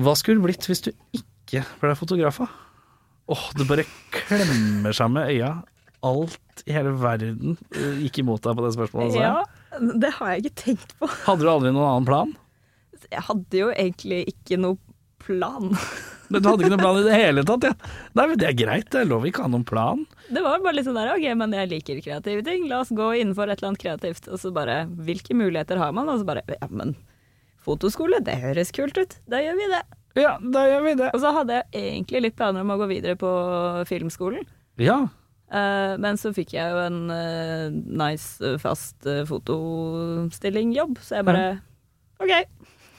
Hva skulle det blitt hvis du ikke ble fotograf? da? Åh, det bare klemmer seg med øya. Alt i hele verden eh, gikk imot deg på det spørsmålet. sa jeg. Ja, det har jeg ikke tenkt på. Hadde du aldri noen annen plan? Jeg hadde jo egentlig ikke noe plan. Men Du hadde ikke noen plan i det hele tatt, ja. Nei, men det er greit, det er lov ikke å ha noen plan. Det var bare litt sånn der, ok, men jeg liker kreative ting, la oss gå innenfor et eller annet kreativt. Og så bare, hvilke muligheter har man? Og så bare, ja, men fotoskole, det høres kult ut, da gjør vi det. Ja, da gjør vi det. Og så hadde jeg egentlig litt planer om å gå videre på filmskolen. Ja, eh, men så fikk jeg jo en eh, nice, eh, fast eh, fotostillingjobb, så jeg bare, ok,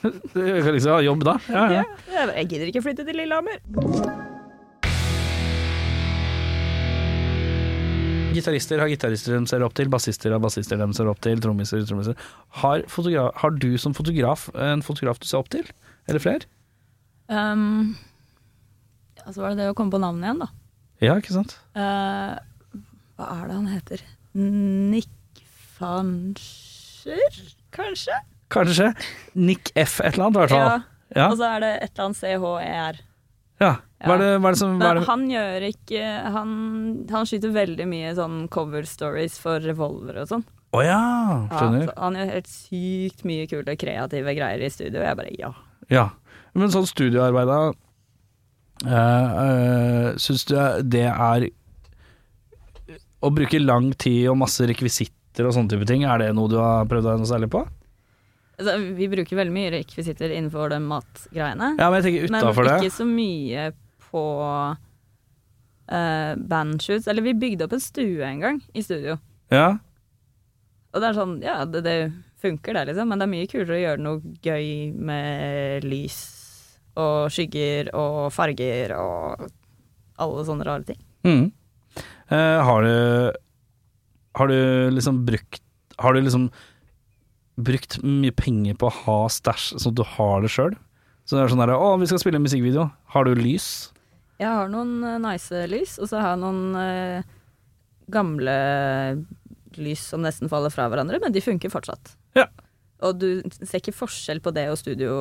jeg kan liksom ha jobb da. Ja, ja. ja. jeg, bare, jeg gidder ikke flytte til Lillehammer. Gitarister har gitarister de ser opp til, bassister har bassister de ser opp til, trommiser trommiser. Har, fotogra- har du som fotograf en fotograf du ser opp til? Eller flere? Um, ja, så var det det å komme på navnet igjen da. Ja, ikke sant? Eh, hva er det han heter? Nick Fanscher, kanskje? Kanskje Nick F et eller annet, i hvert Ja. altså, fall. Ja. Og så er det et eller annet CHER. ja. Hva er det, hva er det som hva er Men det? han gjør ikke Han, han skyter veldig mye sånn cover stories for revolver og sånn. Å ja, Ja, altså. skjønner. så han gjør helt sykt mye kule kreative greier i studio, og jeg bare ja. Ja. Men sånn studiearbeid, da. Uh, Syns du det er Å bruke lang tid og masse rekvisitter og sånne type ting, er det noe du har prøvd deg noe særlig på? Altså, vi bruker veldig mye rekvisitter innenfor de matgreiene. Ja, men jeg tenker Men utafor det. ikke så mye på eh, bandshoots. Eller vi bygde opp en stue en gang i studio. Ja. Og det er sånn, ja, det, det funker det, liksom. Men det er mye kulere å gjøre noe gøy med lys og skygger og farger og alle sånne rare ting. Mm. Eh, har du Har du liksom brukt Har du liksom brukt mye penger på å ha stæsj, sånn at du har det sjøl? Så det er sånn derre Å, vi skal spille en musikkvideo. Har du lys? Jeg har noen eh, nice lys, og så har jeg noen eh, gamle lys som nesten faller fra hverandre, men de funker fortsatt. Ja. Og du ser ikke forskjell på det og studio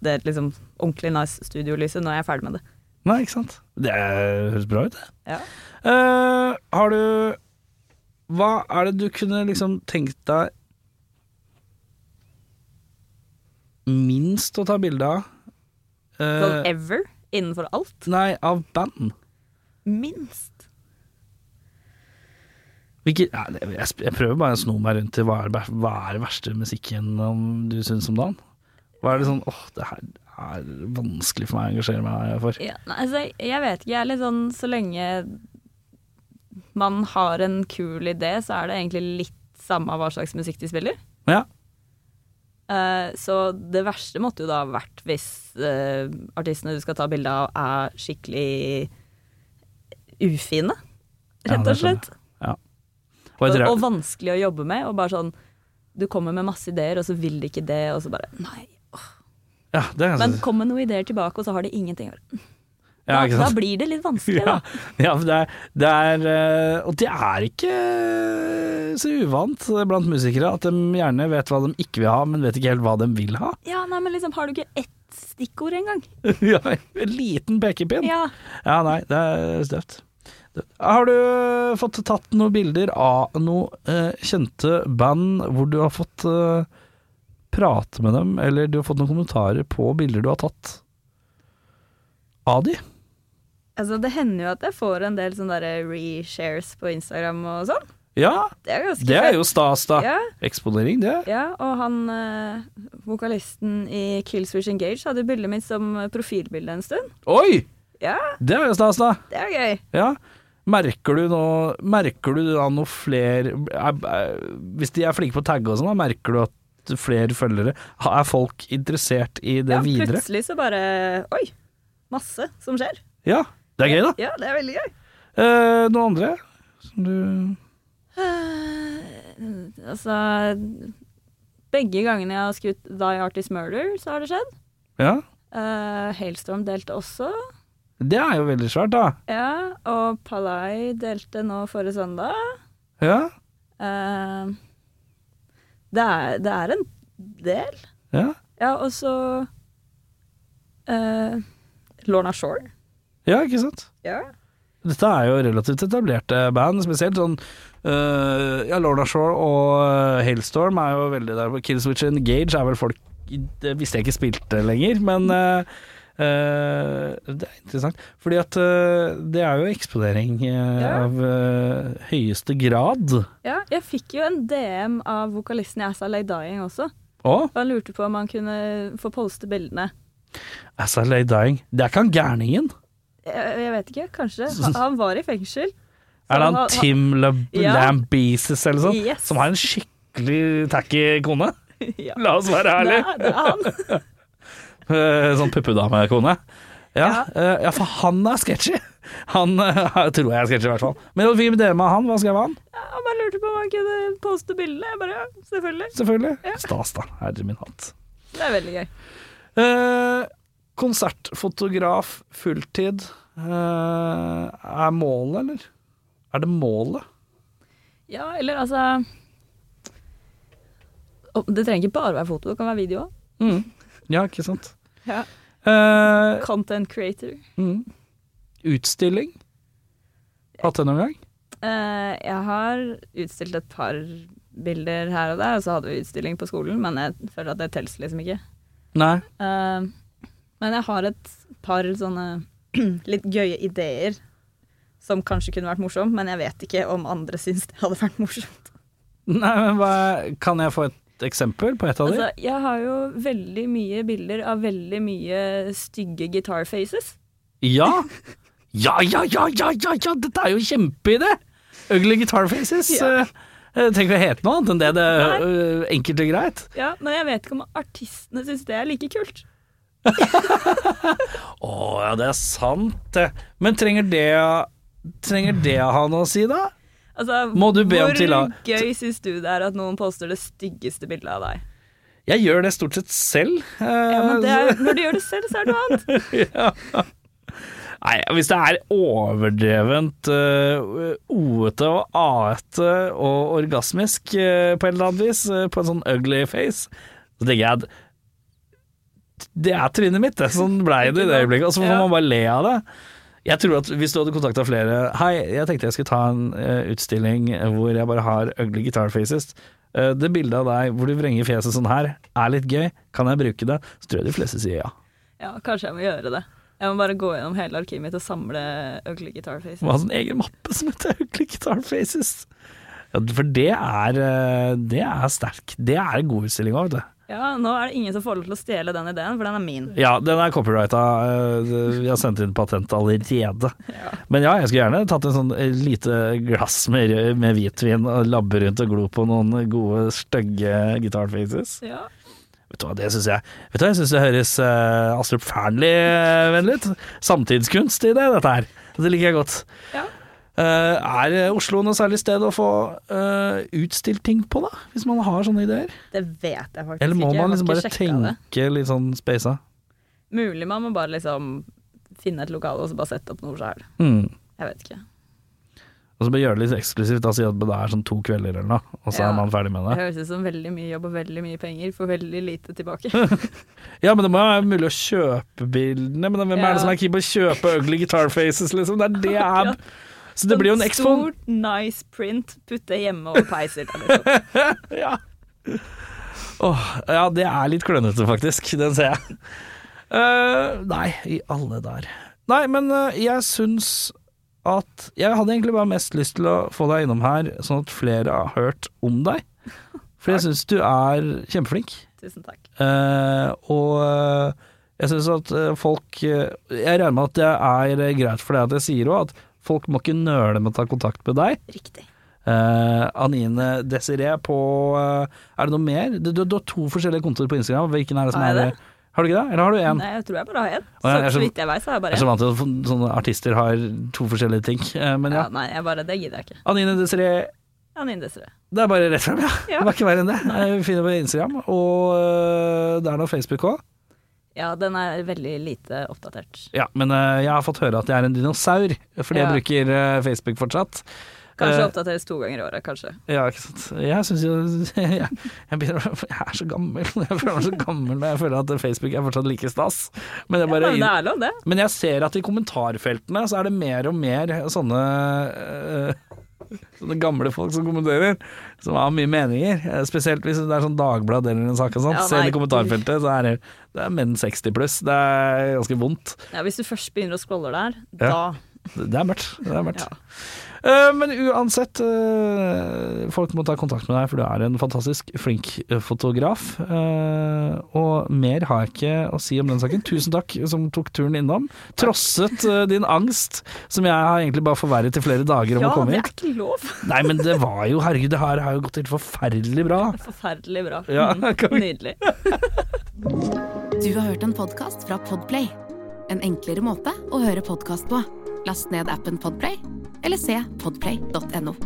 Det liksom ordentlig nice studiolyset når jeg er ferdig med det. Nei, ikke sant? Det er- høres bra ut, det. Ja. Eh, har du Hva er det du kunne liksom tenkt deg minst å ta bilde av Sånn Eh, ever, innenfor alt. nei, av band. Minst. Hvilke, nei, det- jeg, sp- jeg prøver bare å sno meg rundt til hva er, det- hva er det verste musikken om du syns om dagen? Hva er det sånn åh, det her er vanskelig for meg å engasjere meg for. Ja, nei, altså, jeg, jeg vet ikke, jeg er litt sånn så lenge man har en kul idé, så er det egentlig litt samme hva slags musikk de spiller. Ja, Eh, så det verste måtte jo da ha vært hvis eh, artistene du skal ta bilde av, er skikkelig ufine, Ja, rett det og skjønner slett. og jeg Og, og tror jeg, vanskelig å jobbe med. Og bare sånn Du kommer med masse ideer, og så vil de ikke det, og så bare Nei. ja, det er Men ganske kom med noen ideer tilbake, og så har de ingenting. Da, ja, ikke da sant? blir det litt vanskelig, Ja, da. ja for det er, det er eh, Og det er ikke så uvant blant musikere at de gjerne vet hva de ikke vil ha, men vet ikke helt hva de vil ha. Ja, nei, men liksom, har du ikke ett stikkord engang? Ja, en liten pekepinn. Ja. Ja, nei, det er støvt. Har du eh, fått tatt noen bilder av noen eh, kjente band hvor du har fått eh, prate med dem, eller du har fått noen kommentarer på bilder du har tatt av de? Altså, det hender jo at jeg får en del sånne der reshares på Instagram og sånn. Ja, Det er ganske det er jo stas, da. Ja, Eksponering, det. ja, og han eh, vokalisten i Killswitch Engage hadde jo bildet mitt som profilbilde en stund. Oi! Ja, Det er jo stas, da. det er gøy. Ja. Merker du nå Merker du da noe flere er- er- Hvis de er flinke på å tagge og sånn, da, merker du at flere følgere Er folk interessert i det Ja, videre? plutselig så bare Oi, masse som skjer. Ja. Det er gøy, da. Ja, det er veldig gøy. Eh, noen andre som du Eh, altså Begge gangene jeg har skutt Die Artist Murder, så har det skjedd. Ja. Eh, Hailstorm delte også. Det er jo veldig svært, da. Ja, og Palai delte nå forrige søndag. Ja. Eh, det, er, det er en del. Ja. Ja, og så eh, Lorna Shore. ja, ikke sant. Ja. Dette er jo relativt etablerte band, spesielt sånn eh, Ja, Lorna Shore og eh, Hailstorm er jo veldig der. Killswitch Engage er vel folk Det visste jeg ikke spilte lenger, men eh, eh, det er interessant. Fordi at eh, det er jo eksponering eh, Ja. av eh, høyeste grad. ja. Jeg fikk jo en DM av vokalisten i Assa Lay Dying også. Og Og han lurte på om han kunne få poste bildene. As I Lay Dying Det er ikke han gærningen! Jeg, jeg vet ikke, kanskje. Han, han var i fengsel. Så Er det han han- Tim Lab Ja. Lambesis eller sånn? Yes. Som har en skikkelig tacky kone? ja. La oss være Det ærlige! er, det er han. Eh, Sånn puppedamekone. Ja, Ja. eh, ja, for han er sketchy! Han eh, tror jeg er sketchy, i hvert fall. Men vi med det med han, hva skrev han? Ja, Han bare lurte på om han kunne poste bildene. Jeg bare ja, selvfølgelig. Selvfølgelig. Stas, da. Herre min hatt. Det er veldig gøy. Eh, konsertfotograf fulltid eh, er målet, eller? Er det målet? Ja, eller altså Å, Det trenger ikke bare være foto, det kan være video òg. Ja, ikke sant? Ja. Eh, Content creator. Mm. Utstilling? Hatt det noen gang? Eh, jeg har utstilt et par bilder her og der, og så hadde vi utstilling på skolen, men jeg føler at det teller liksom ikke. Nei. Eh, men jeg har et par sånne litt gøye ideer som kanskje kunne vært morsom, men jeg vet ikke om andre syns det hadde vært morsomt. Nei, men hva, kan jeg få et eksempel på et av de? Altså, jeg har jo veldig mye bilder av veldig mye stygge guitar faces. Ja. ja! Ja, ja, ja, ja, ja, dette er jo kjempeidé! Ugly Guitar Faces. Ja. eh, eh, Trenger ikke å hete noe annet enn det det Nei. eh, enkelt og greit. Ja, men jeg vet ikke om artistene syns det er like kult. Å ja, det er sant, det. Men trenger det Trenger det å ha noe å si, da? Altså, Må du be om tilla- Hvor gøy syns du det er at noen poster det styggeste bildet av deg? Jeg gjør det stort sett selv. eh, Ja, altså- men det er, når du gjør det selv, så er det noe annet. Nei, hvis det er overdrevent øh, oete og aete og orgasmisk øh, på et eller annet vis, øh, på en sånn ugly face, så tenker jeg at det er trynet mitt, det. Sånn blei det i det øyeblikket. Og så får Ja. man bare le av det. Jeg tror at Hvis du hadde kontakta flere Hei, jeg tenkte jeg skulle ta en øh, utstilling hvor jeg bare har ugly guitar faces. Eh, det bildet av deg hvor du vrenger fjeset sånn her, er litt gøy. Kan jeg bruke det? Så tror jeg de fleste sier ja. Ja, kanskje jeg må gjøre det. Jeg må bare gå gjennom hele arkivet mitt og samle Ugly Guitar Faces. Må ha sin sånn egen mappe som heter Ugly Guitar Faces. Ja, for det er, eh, det er sterk. Det er en god utstilling òg, vet du. Ja, nå er det ingen som får lov til å stjele den ideen, for den er min. Ja, den er copyrighta. eh, det- Vi har sendt inn patent allerede. Men ja, jeg skulle gjerne tatt en sånn eh, lite glass med, rød- med hvitvin og labbe rundt og glo på noen gode, stygge Guitar Faces. Ja. Vet du hva, det syns jeg Vet du hva, jeg synes det høres eh, Astrup Fearnley-vennlig ut. Samtidskunst i det, dette her. Det liker jeg godt. Ja. Eh, er Oslo noe særlig sted å få eh, utstilt ting på, da? Hvis man har sånne ideer? Det vet jeg faktisk Eller må ikke. Jeg man har liksom ikke bare sjekket det. tenke litt sånn speisa? Mulig man må bare liksom finne et lokale og så bare sette opp noe sjøl. Mm. Jeg vet ikke. Og så bare gjøre det litt eksklusivt, da, si at det er sånn to kvelder eller noe, og så Ja. er man ferdig med Det det. høres ut som veldig mye jobb og veldig mye penger for veldig lite tilbake. Ja, men det må jo være mulig å kjøpe bildene, men hvem er Ja. det som er keen på å kjøpe ugly guitar faces, liksom? Det er det jeg Ja. Sånn Så det blir jo en expo. Stort, nice print, putte hjemme over peiser. Liksom. ja. Åh, ja, det er litt klønete, faktisk. Den ser jeg. Eh, nei, i alle dager. Nei, men eh, jeg syns at Jeg hadde egentlig bare mest lyst til å få deg innom her, sånn at flere har hørt om deg. For jeg syns du er kjempeflink. Tusen takk. Eh, og eh, jeg syns at eh, folk eh, Jeg regner med at det er eh, greit for deg at jeg sier òg, at folk må ikke nøle med å ta kontakt med deg. Riktig. Eh, Anine Desiree på eh, Er det noe mer? Du, du, du har to forskjellige kontoer på Instagram. Hvilken er det som Har er jeg det? Har du ikke det? Eller har du én? Nei, jeg tror jeg bare har én. Så, Å, jeg er så- så vidt jeg vet, så har jeg Jeg bare er så én. vant til at sånne artister har to forskjellige ting. Eh, men ja. Ja, nei, jeg bare, det gidder jeg ikke. Anine Desiree, Anine Desiree. det er bare rett frem, ja. Ja. Det var ikke verre enn det. Eh, Vi finner på Instagram, og eh, det er noe Facebook òg. Ja, den er veldig lite oppdatert. Ja, men eh, jeg har fått høre at jeg er en dinosaur, fordi jeg Ja. bruker eh, Facebook fortsatt. Kanskje Eh, oppdateres to ganger i året, kanskje. Ja, ikke sant. Jeg syns jo jeg, jeg, begynner, å- jeg er så gammel. Jeg føler meg så gammel når jeg føler at Facebook er fortsatt like stas. Men jeg, bare, ja, men det er lov, det. men jeg ser at i kommentarfeltene så er det mer og mer sånne eh, Sånne gamle folk som kommenterer, som har mye meninger. Eh, Spesielt hvis det er sånn Dagbladet eller en sak og sånt. Ja, Selv nei, i kommentarfeltet så er det, det er menn 60 pluss. Det er ganske vondt. Ja, hvis du først begynner å scrolle der, Ja. da Det er mørkt. Det er mørkt. Ja. Eh, men uansett, eh, folk må ta kontakt med deg, for du er en fantastisk flink eh, fotograf. Eh, og mer har jeg ikke å si om den saken. Tusen takk som tok turen innom. Trosset eh, din angst, som jeg har egentlig bare forverret i flere dager om Ja, å komme det hit. er ikke lov! Nei, men det var jo Herregud, det her har jo gått helt forferdelig bra. Forferdelig bra. Ja, Mm, kan vi- Nydelig. Du har hørt en podkast fra Podplay. En enklere måte å høre podkast på. Last ned appen Podplay, eller se podplay.no.